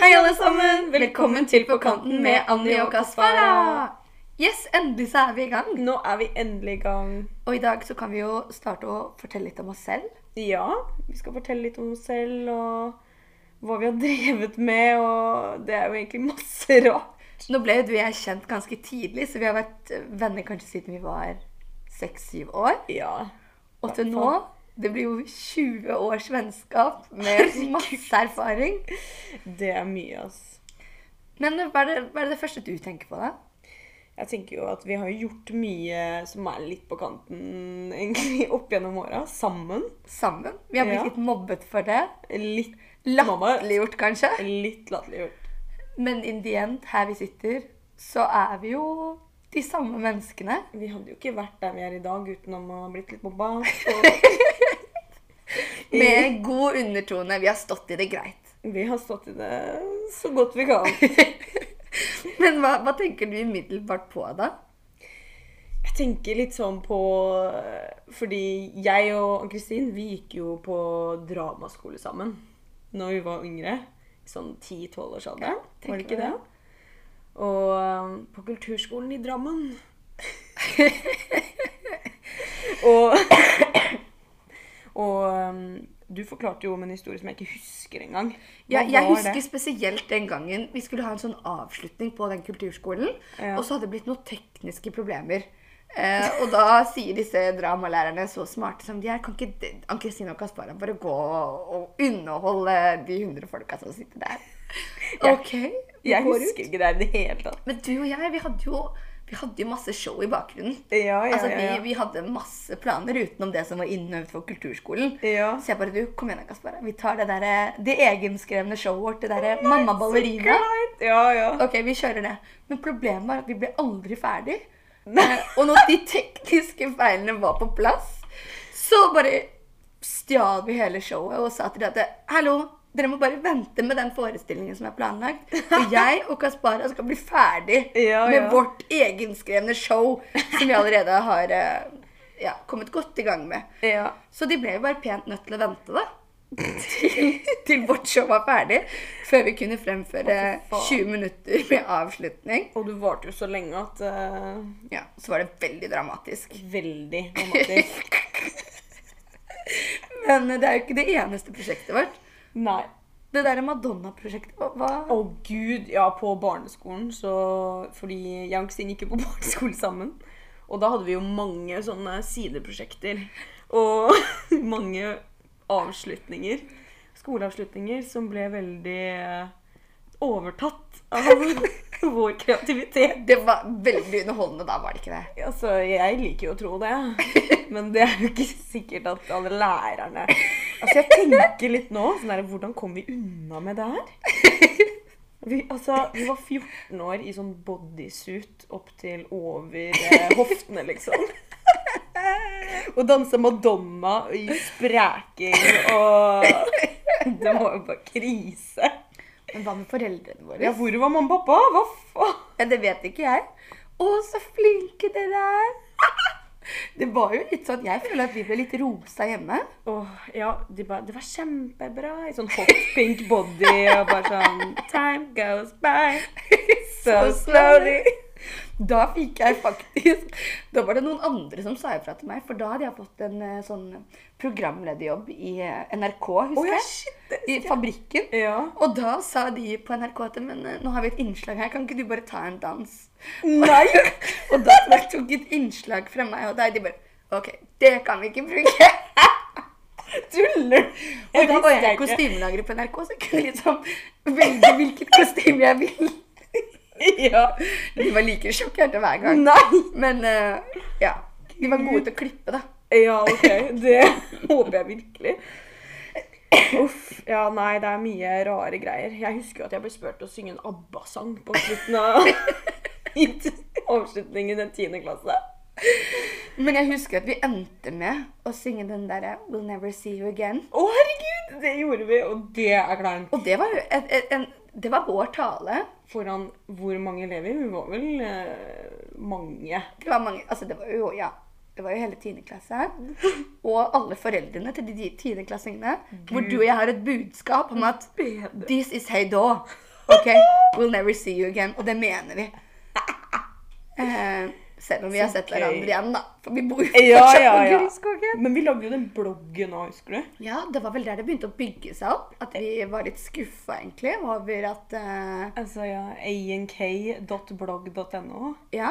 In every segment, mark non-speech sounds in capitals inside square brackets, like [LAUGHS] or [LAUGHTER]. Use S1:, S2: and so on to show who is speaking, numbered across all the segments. S1: velkommen! Velkommen til På kanten med Anni og Kaspara.
S2: Yes, endelig så er vi i gang.
S1: Nå er vi endelig i gang.
S2: Og i dag så kan vi jo starte å fortelle litt om oss selv.
S1: Ja, vi skal fortelle litt om oss selv og hva vi har drevet med, og det er jo egentlig masse [LAUGHS] rart.
S2: Nå ble jo du og jeg kjent ganske tidlig, så vi har vært eh, venner kanskje siden vi var 6-7 år.
S1: Ja.
S2: Og til nå det blir jo 20 års vennskap med masse erfaring.
S1: Det er mye, ass.
S2: Men hva er det, hva er det første du tenker på, da?
S1: Jeg tenker jo at vi har gjort mye som er litt på kanten, [LAUGHS] egentlig, opp gjennom åra. Sammen.
S2: Sammen? Vi har blitt
S1: Ja.
S2: litt mobbet for det.
S1: Litt mamma,
S2: Latterliggjort, kanskje.
S1: Litt latterliggjort.
S2: Men in the end, her vi sitter, så er vi jo de samme menneskene.
S1: Vi hadde jo ikke vært der vi er i dag uten om man har blitt litt mobba. Så
S2: Med god undertone. Vi har stått i det greit.
S1: vi har stått i det så godt vi kan.
S2: Men hva, hva tenker du umiddelbart på, da?
S1: Jeg tenker litt sånn på eh, Fordi jeg og Ann-Kristin vi gikk jo på dramaskole sammen når vi var yngre. i Sånn 10-12 års
S2: Ja,
S1: alder. var det
S2: tenker
S1: ikke det?
S2: jeg.
S1: Og um, på kulturskolen i Drammen.
S2: [LAUGHS]
S1: og og um, du forklarte jo om en historie som jeg ikke husker engang. Hva
S2: Ja, jeg
S1: var
S2: husker
S1: det?
S2: spesielt den gangen vi skulle ha en sånn avslutning på den kulturskolen.
S1: Ja.
S2: Og så hadde det blitt noen tekniske problemer. Eh, og da sier disse dramalærerne, så smarte som de er, kan ikke de- Ann-Kristin og Kaspara bare gå og underholde de hundre folka som sitter der? OK. vi
S1: Jeg
S2: går ut.
S1: husker ikke det i det hele tatt.
S2: Men du og jeg, vi hadde jo, vi hadde jo masse show i bakgrunnen.
S1: Ja, ja,
S2: altså, vi,
S1: ja, ja.
S2: vi hadde masse planer utenom det som var innøvd for kulturskolen.
S1: Ja.
S2: Så jeg bare Du, kom igjen, Kaspar. Vi tar det derre Det egenskrevne showet vårt. Det eh, derre Mamma ballerina.
S1: Ja, ja.
S2: OK, vi kjører det. Men problemet var at vi ble aldri ferdig. Eh, og når de tekniske feilene var på plass, så bare stjal vi hele showet og sa til dem at hallo, dere må bare vente med den forestillingen som er planlagt.
S1: [LAUGHS]
S2: For jeg og Kaspara skal bli ferdig
S1: Ja,
S2: med
S1: ja.
S2: vårt egenskrevne show som vi allerede har eh, ja, kommet godt i gang med.
S1: ja.
S2: Så de ble jo bare pent nødt til å vente, da. Til, til vårt show var ferdig, før vi kunne fremføre
S1: Å, fy faen.
S2: 20 minutter med avslutning.
S1: Og du varte jo så lenge at eh,
S2: Ja, Så var det veldig dramatisk.
S1: Veldig
S2: [LAUGHS]
S1: dramatisk.
S2: Men eh, det er jo ikke det eneste prosjektet vårt.
S1: Nei.
S2: Det derre Madonna-prosjektet, hva-
S1: Å
S2: hva
S1: gud, ja, på barneskolen så Fordi jeg og Kristin gikk jo på [LAUGHS] barneskole sammen. Og da hadde vi jo mange sånne sideprosjekter. Og [LAUGHS] mange avslutninger. Skoleavslutninger som ble veldig eh, overtatt av [LAUGHS] vår kreativitet.
S2: Det var veldig underholdende da, var det ikke det?
S1: Altså, jeg liker jo å tro det, [LAUGHS] men det er jo ikke sikkert at alle lærerne Altså, jeg tenker litt nå sånn der, Hvordan kom vi unna med det [LAUGHS] her? Vi, altså, vi var 14 år i sånn bodysuit opp til over eh, hoftene, [LAUGHS] liksom. Og dansa Madonna i spreking [LAUGHS] og Det var jo bare krise.
S2: Men hva med foreldrene våre?
S1: Ja, hvor var mamma og pappa? Hva faen?
S2: Ja, det vet ikke jeg. Å, så flinke dere er! [LAUGHS] Det var jo litt sånn, Jeg føler at vi ble litt rosa hjemme.
S1: Åh, ja, de bare, det var kjempebra i sånn hot pink body og bare sånn Time goes [LAUGHS] by so slowly.
S2: [LAUGHS] Da fikk jeg faktisk Da var det noen andre som sa ifra til meg, for da hadde jeg fått en eh, sånn programlederjobb i eh, NRK,
S1: Åh,
S2: husker
S1: ja,
S2: jeg.
S1: shit. det-
S2: I Fabrikken.
S1: Ja.
S2: Og da sa de på NRK at Men eh, nå har vi et innslag her, kan ikke du bare ta en dans?
S1: Nei!
S2: [LAUGHS] Og da tror jeg jeg tok et innslag fra meg og deg. De bare OK, det kan vi ikke bruke. [LAUGHS]
S1: Tuller
S2: Og da var jeg
S1: visste ikke.
S2: kostymelager på NRK, så jeg kunne liksom velge hvilket kostyme jeg ville.
S1: [LAUGHS] Ja.
S2: De var like sjokkerte hver gang.
S1: Nei!
S2: Men eh, ja. De var gode til å klippe, da.
S1: Ja, OK. Det [LAUGHS] håper jeg virkelig. Uff. Ja, nei, det er mye rare greier. Jeg husker jo at jeg ble spurt til å synge en ABBA-sang på slutten av [LAUGHS] i avslutningen i tiende klasse.
S2: Men jeg husker at vi endte med å synge den derre We'll never see you again.
S1: Å, herregud! Det gjorde vi, og det er kleint.
S2: Og det var jo et, et, en Det var vår tale.
S1: Foran hvor mange elever? Vi var vel eh, mange.
S2: Det var mange Altså, det var jo Ja. Det var jo hele 10. klasse. Og alle foreldrene til de 10. klassingene. Hvor du og jeg har et budskap om at
S1: Bedre.
S2: This is hey da. OK, we'll never see you again. Og det mener
S1: [LAUGHS]
S2: vi. Eh, selv om vi har
S1: Så
S2: sett
S1: gøy.
S2: hverandre igjen, da. For vi bor jo
S1: Ja,
S2: fortsatt på
S1: ja, ja.
S2: Gullskogen.
S1: Men vi lagde jo den bloggen nå, husker du?
S2: Ja, det var vel der det begynte å bygge seg opp. At vi var litt skuffa, egentlig, over at eh,
S1: Altså, ja, ank.blogg.no.
S2: Ja,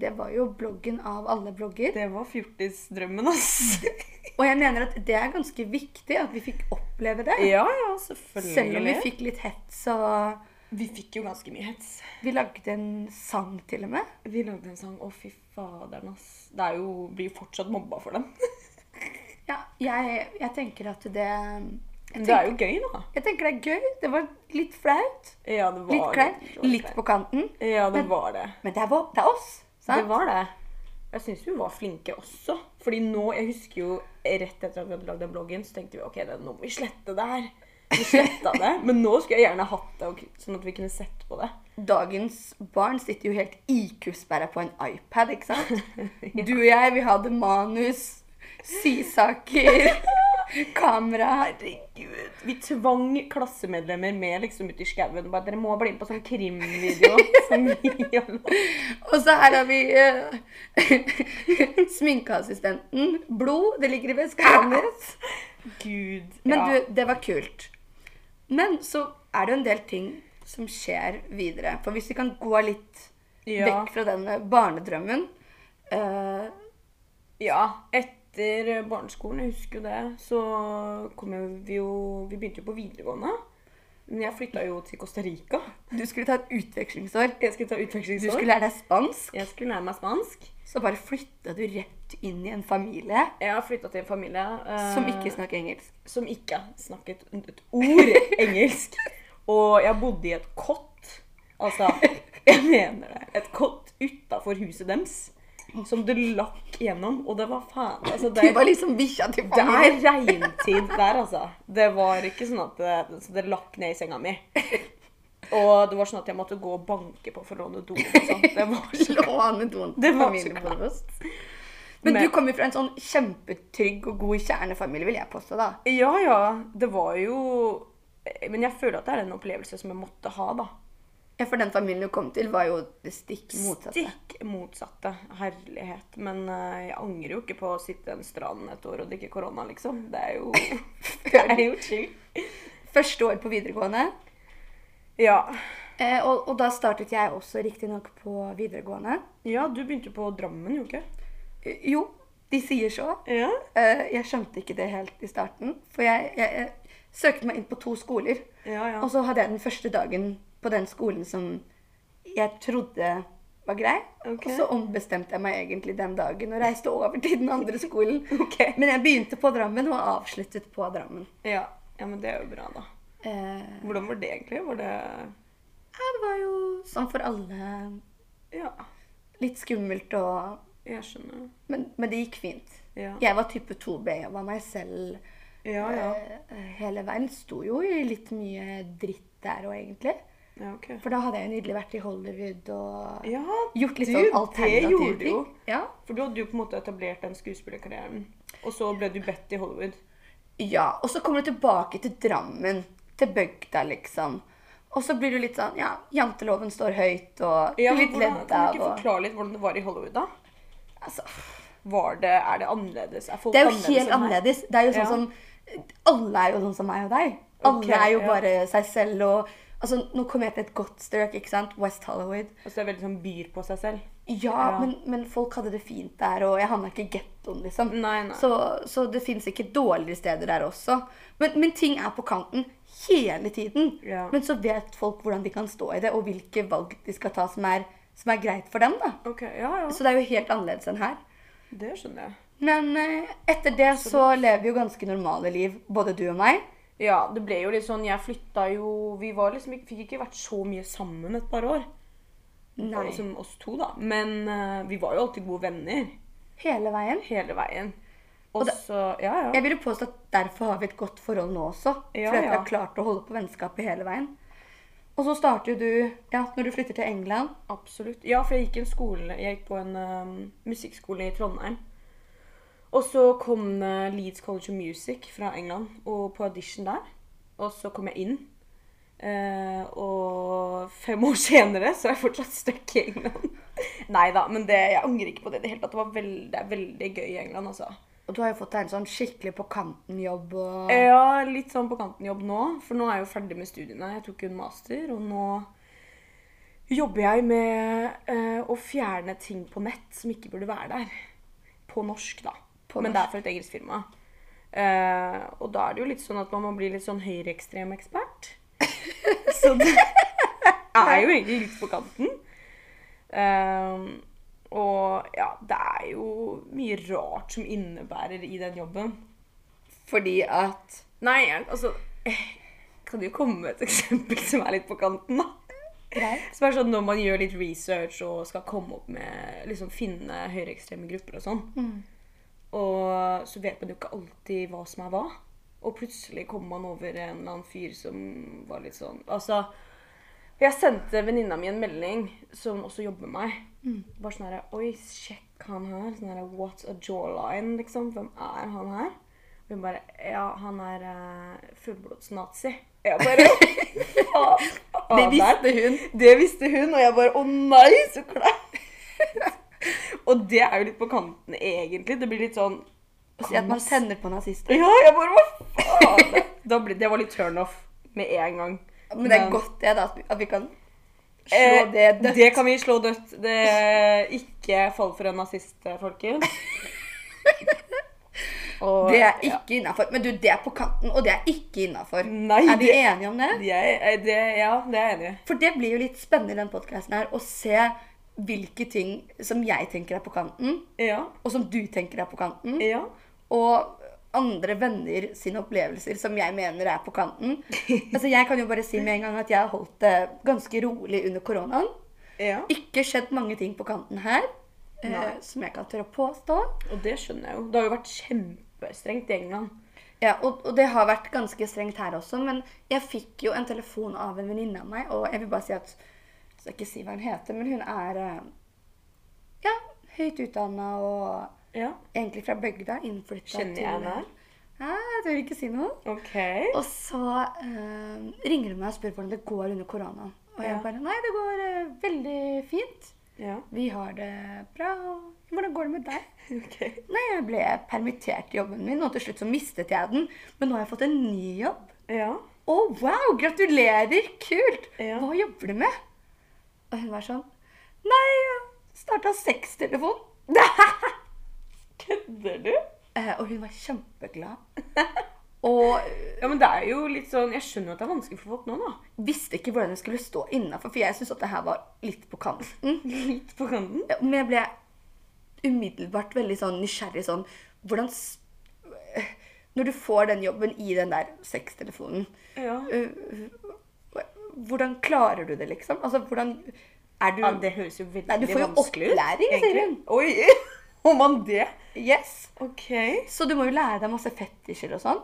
S2: det var jo bloggen av alle blogger.
S1: Det var fjortisdrømmen, ass.
S2: Og jeg mener at det er ganske viktig at vi fikk oppleve det.
S1: [LAUGHS] Ja, ja, selvfølgelig.
S2: Selv om vi fikk litt hets og
S1: Vi fikk jo ganske mye hets.
S2: Vi lagde en sang til og med.
S1: Vi lagde en sang, å fy faderen, ass. Det er jo, blir jo fortsatt mobba for den.
S2: Ja, jeg, jeg tenker at det jeg
S1: Men [LAUGHS] det er
S2: tenker,
S1: jo gøy, da.
S2: jeg tenker det er gøy. Det var litt flaut.
S1: Ja, det var
S2: Litt kleint.
S1: det var
S2: Litt på kanten.
S1: Ja, det
S2: Men-
S1: var det.
S2: Men det er, vår- det er oss. Sant?
S1: Det var det. Jeg syns vi var flinke også. Fordi nå, jeg husker jo rett etter at vi hadde lagd den bloggen, så tenkte vi ok, det, nå må vi slette det her. Vi sletta det. Men nå skulle jeg gjerne hatt det, og, sånn at vi kunne sett på det.
S2: [LAUGHS] Dagens barn sitter jo helt IQ-sperra på en iPad, ikke
S1: [LAUGHS]
S2: sant? Du og jeg, vi hadde manus, sysaker,
S1: [LAUGHS]
S2: kamera
S1: Herregud. Vi tvang klassemedlemmer med liksom ut i skauen. Bare, Dere må bli med på sånn krimvideo som vi har lagd.
S2: Og så her har vi eh, [LAUGHS] sminkeassistenten. Blod, det
S1: [LAUGHS]
S2: ligger i veska hans.
S1: Gud.
S2: Men
S1: ja.
S2: du, det var kult. Men så er det jo en del ting som skjer videre. For hvis vi kan gå litt
S1: Ja.
S2: vekk fra denne barnedrømmen eh,
S1: Ja. Etter eh, barneskolen, jeg husker jo det, så kom jo vi jo Vi begynte jo på videregående. Men jeg flytta jo til Costa Rica.
S2: Du skulle ta et utvekslingsår.
S1: Jeg skulle ta
S2: Du
S1: utvekslingsår.
S2: skulle lære deg spansk.
S1: Jeg skulle lære meg spansk.
S2: Så bare flytta du rett inn i en familie
S1: Jeg har flytta til en familie eh,
S2: som ikke snakker engelsk.
S1: som ikke snakket et ord engelsk. Og jeg bodde i et kott. Altså, jeg mener det. Et kott utafor huset deres. Som det lakk gjennom. Og det var faen altså,
S2: Du
S1: det,
S2: var liksom bikkja til
S1: det er
S2: familien.
S1: regntid der, altså. Det var ikke sånn at det, så det lakk ned i senga mi. Og det var sånn at jeg måtte gå og banke på for å låne do. og sånt. Det var
S2: [LAUGHS]
S1: så
S2: Slående don
S1: Det var så
S2: familiepost. Men,
S1: Men-
S2: du kommer fra en sånn kjempetrygg og god kjernefamilie, vil jeg påstå, da.
S1: Ja, ja. Det var jo Men jeg føler at det er en opplevelse som jeg måtte ha, da.
S2: Ja, For den familien du kom til, var jo det stikk motsatte.
S1: Stikk motsatte. Herlighet. Men eh, jeg angrer jo ikke på å sitte en strand et år og drikke korona, liksom. Det er
S2: [LAUGHS]
S1: jo Det er jo chill.
S2: Første år på videregående.
S1: Ja.
S2: Eh, og, og da startet jeg også riktignok på videregående.
S1: ja, du begynte på Drammen, jo ikke?
S2: Eh, Jo, de sier så.
S1: Ja.
S2: Eh, jeg skjønte ikke det helt i starten, for jeg, jeg, jeg søkte meg inn på to skoler.
S1: Ja, ja.
S2: Og så hadde jeg den første dagen på den skolen som jeg trodde var grei.
S1: Ok.
S2: Og så ombestemte jeg meg egentlig den dagen og reiste over til den
S1: [LAUGHS]
S2: andre skolen.
S1: Ok.
S2: Men jeg begynte på Drammen og avsluttet på Drammen.
S1: ja. Ja, men det er jo bra, da.
S2: Eh,
S1: Hvordan var det egentlig? Var det
S2: ja, det var jo sånn for alle
S1: Ja,
S2: litt skummelt og
S1: jeg skjønner.
S2: Men, men det gikk fint.
S1: Ja.
S2: Jeg var type 2B og var meg selv
S1: Ja, ja.
S2: eh, hele veien. Sto jo i litt mye dritt der òg, egentlig.
S1: Ja, ok.
S2: For da hadde jeg jo nydelig vært i Hollywood og
S1: Ja,
S2: gjort litt
S1: du,
S2: sånn
S1: det
S2: alternative
S1: gjorde du jo.
S2: ting. Ja.
S1: For du hadde jo på en måte etablert den skuespillerkarrieren. Og så ble du bedt i Hollywood.
S2: ja. Og så kommer du tilbake til Drammen, til bygda, liksom. Og så blir du litt sånn Ja, janteloven står høyt, og
S1: Ja,
S2: litt
S1: hvordan,
S2: ledd
S1: kan du
S2: av
S1: ikke
S2: og
S1: forklare litt hvordan det var i Hollywood, da?
S2: altså,
S1: Var det, er det annerledes? Er folk
S2: Det er jo
S1: annerledes
S2: helt
S1: enn meg?
S2: annerledes. Det er jo
S1: Ja.
S2: sånn som Alle er jo sånn som meg og deg. Alle
S1: Ok,
S2: er jo
S1: ja.
S2: bare seg selv og Altså, nå kom jeg til et godt strøk, ikke sant? West Hollywood.
S1: Altså, det er veldig sånn byr på seg selv.
S2: Ja,
S1: Ja.
S2: Men, men folk hadde det fint der, og jeg havna ikke i gettoen, liksom.
S1: Nei, nei.
S2: Så, så det fins ikke dårligere steder der også. Men, men ting er på kanten hele tiden.
S1: Ja.
S2: Men så vet folk hvordan de kan stå i det, og hvilke valg de skal ta som er, som er greit for dem, da.
S1: Ok, ja, ja.
S2: Så det er jo helt annerledes enn her.
S1: Det skjønner jeg.
S2: Men eh, etter det så lever vi jo ganske normale liv, både du og meg.
S1: Ja, det ble jo litt sånn, jeg flytta jo, vi var liksom, ikke- fikk ikke vært så mye sammen et par år.
S2: Nei.
S1: Som oss to da. Men eh, vi var jo alltid gode venner,
S2: Hele veien.
S1: hele veien.
S2: Og
S1: Og
S2: det-
S1: så, ja, ja.
S2: Jeg ville påstå at derfor har vi et godt forhold nå også.
S1: Ja,
S2: fordi at vi
S1: ja.
S2: har klart å holde på vennskapet hele veien. Og så starter jo du, ja, når du flytter til England
S1: Absolutt. Ja, for jeg gikk, en skole, jeg gikk på en eh, musikkskole i Trondheim. Og så kom eh, Leeds College of Music fra England og på audition der. Og så kom jeg inn. Eh, og fem [LAUGHS] år senere så er jeg fortsatt stuck i England. [LAUGHS] Nei da, men det, jeg angrer ikke på det i det hele tatt. Det, var veldig, det er veldig gøy i England, altså.
S2: Og du har jo fått deg en sånn skikkelig på kanten-jobb og
S1: Ja, litt sånn på kanten-jobb nå, for nå er jeg jo ferdig med studiene. Jeg tok jo en master, og nå jobber jeg med eh, å fjerne ting på nett som ikke burde være der. På norsk, da.
S2: På norsk.
S1: Men det er for et engelsk firma. Eh, og da er det jo litt sånn at man må bli litt sånn høyreekstrem
S2: [LAUGHS]
S1: ekspert. Så det er jo egentlig litt på kanten. Eh, og ja, det er jo mye rart som innebærer i den jobben.
S2: fordi at
S1: Nei, jeg- altså eh, Kan du komme med et eksempel som er litt på kanten, da?
S2: Greit.
S1: Som er sånn når man gjør litt research og skal komme opp med Liksom finne høyreekstreme grupper og sånn. Og så vet man jo ikke alltid hva som er hva. Og plutselig kommer man over en eller annen fyr som var litt sånn Altså Jeg sendte venninna mi en melding som også jobber med meg. Bare sånn herre Oi, sjekk han her. Sånn herre What a jawline, liksom. Hvem er han her? Og hun bare Ja, han er eh, fullblods nazi. Jeg bare Faen.
S2: Det
S1: faen der.
S2: visste hun.
S1: Det visste hun, og jeg bare Å nei, så kleint! og det er jo litt på kanten, egentlig. Det blir litt sånn
S2: Si at man tenner på nazister.
S1: Ja, jeg bare Hva faen? da ble, det var litt turnoff med en gang.
S2: Men det er godt det, da. at vi- At vi kan slå
S1: Eh,
S2: det dødt.
S1: Det kan vi slå dødt. Det Ikke fall for en nazist, eh,
S2: [LAUGHS]
S1: folkens. Og,
S2: Det er ikke innafor. Men du, det er på kanten, og det er ikke innafor.
S1: Nei,
S2: Er vi
S1: det-
S2: enige om det?
S1: ja. Jeg, eh, det, ja, det er jeg enig i.
S2: For det blir jo litt spennende i den podkasten her å se hvilke ting som jeg tenker er på kanten,
S1: Ja.
S2: og som du tenker er på kanten,
S1: Ja.
S2: og andre venner sine opplevelser som jeg mener er på kanten. Altså, Jeg kan jo bare si med en gang at jeg har holdt det ganske rolig under koronaen.
S1: ja.
S2: Ikke skjedd mange ting på kanten her eh,
S1: Nei.
S2: som jeg kan tørre å påstå.
S1: Og det skjønner jeg jo. Det har jo vært kjempestrengt i England.
S2: Ja, og, og det har vært ganske strengt her også, men jeg fikk jo en telefon av en venninne av meg, og jeg vil bare si at Jeg skal ikke si hva hun heter, men hun er eh, ja, høyt utdanna og
S1: Ja.
S2: egentlig fra bygda. Innflytta
S1: Kjenner jeg henne her?
S2: Ja, jeg tør ikke si noe.
S1: OK.
S2: Og så eh, ringer hun meg og spør hvordan det går under koronaen. Og jeg
S1: Ja.
S2: bare Nei, det går eh, veldig fint.
S1: Ja.
S2: Vi har det bra. Hvordan går det med deg?
S1: [LAUGHS] Ok.
S2: Nei, jeg ble permittert i jobben min, og til slutt så mistet jeg den. Men nå har jeg fått en ny jobb.
S1: Ja.
S2: Å, wow! Gratulerer! Kult!
S1: Ja.
S2: Hva jobber du med? Og hun var sånn Nei, jeg starta sextelefon. [LAUGHS]
S1: Kødder du?
S2: Eh, og hun var kjempeglad. [LAUGHS] Og eh,
S1: Ja, men det er jo litt sånn Jeg skjønner jo at det er vanskelig for folk nå, da. [LAUGHS]
S2: visste ikke hvordan jeg skulle stå innafor, for jeg syntes at det her var litt på kanten.
S1: Litt på kanten.
S2: Ja, Men jeg ble umiddelbart veldig sånn nysgjerrig sånn Hvordan s- eh, Når du får den jobben i den der sextelefonen,
S1: Ja.
S2: eh, hvordan klarer du det, liksom? Altså, hvordan er du
S1: Det høres jo veldig
S2: Nei,
S1: vanskelig
S2: du
S1: ut.
S2: får jo opplæring, sier hun.
S1: Oi! [LAUGHS] Om man det?
S2: Yes!
S1: OK.
S2: Så du må jo lære deg masse fetisjer og sånn.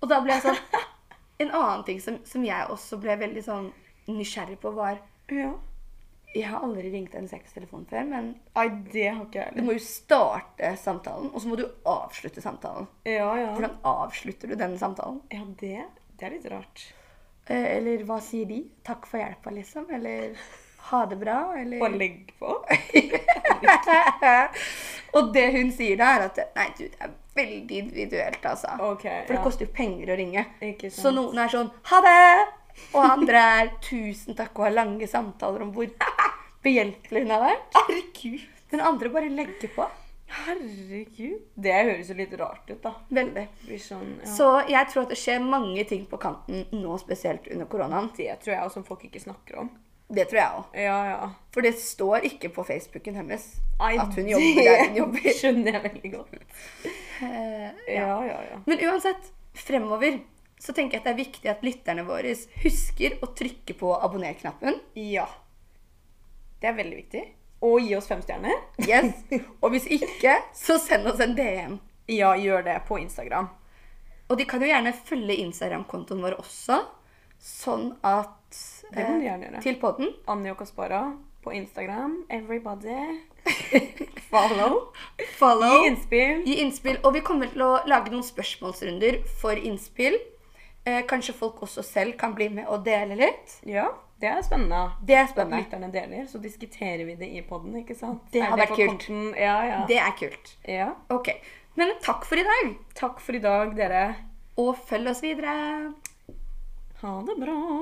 S2: Og da ble jeg sånn [LAUGHS] En annen ting som, som jeg også ble veldig sånn nysgjerrig på, var
S1: Ja.
S2: Jeg har aldri ringt en sextelefon før, men
S1: Nei, det har ikke jeg
S2: du
S1: heller.
S2: må jo starte samtalen, og så må du avslutte samtalen.
S1: Ja, ja.
S2: Hvordan avslutter du den samtalen?
S1: Ja, det Det er litt rart.
S2: Eh, eller hva sier de? Takk for hjelpa, liksom? Eller ha det bra? Eller
S1: Bare legg på.
S2: [LAUGHS] Og det hun sier da, er at Nei, du, det er veldig individuelt, altså.
S1: Ok,
S2: For det
S1: ja.
S2: koster jo penger å ringe.
S1: Ikke sant.
S2: Så noen er sånn Ha det! Og andre er Tusen takk, og har lange samtaler om hvor [LAUGHS] behjelpelig hun har vært.
S1: Herregud.
S2: Den andre bare legger på.
S1: Herregud. Det høres jo litt rart ut, da.
S2: Veldig.
S1: Det Blir sånn, ja.
S2: Så jeg tror at det skjer mange ting på kanten nå, spesielt under koronaen.
S1: Det tror jeg også som folk ikke snakker om.
S2: Det tror jeg òg.
S1: Ja, ja.
S2: For det står ikke på Facebooken hennes
S1: Nei,
S2: at hun jobber der
S1: [LAUGHS]
S2: hun
S1: Det
S2: jobber.
S1: skjønner jeg veldig godt.
S2: Eh,
S1: Ja, ja, ja.
S2: Men uansett, fremover så tenker jeg at det er viktig at lytterne våre husker å trykke på abonner-knappen.
S1: Ja. Det er veldig viktig. Og gi oss fem stjerner. [LAUGHS]
S2: Yes. Og hvis ikke, så send oss en DM.
S1: Ja, gjør det på Instagram.
S2: Og de kan jo gjerne følge Instagram-kontoen vår også, sånn at eh,
S1: Det må de gjerne gjøre.
S2: Til podden.
S1: Annie og Kaspara på Instagram. Everybody. Follow.
S2: [LAUGHS] Follow.
S1: Gi innspill.
S2: Gi innspill. Og vi kommer til å lage noen spørsmålsrunder for innspill. Eh, kanskje folk også selv kan bli med og dele litt.
S1: Ja, det er spennende.
S2: Det er
S1: At
S2: spennende.
S1: lytterne deler, så diskuterer vi det i poden, ikke sant?
S2: Det
S1: Er
S2: har vært
S1: på
S2: kult.
S1: konten? Ja, ja.
S2: Det er kult.
S1: ja.
S2: Ok. Men takk for i dag,
S1: Takk for i dag, dere.
S2: og følg oss videre.
S1: Ha det bra.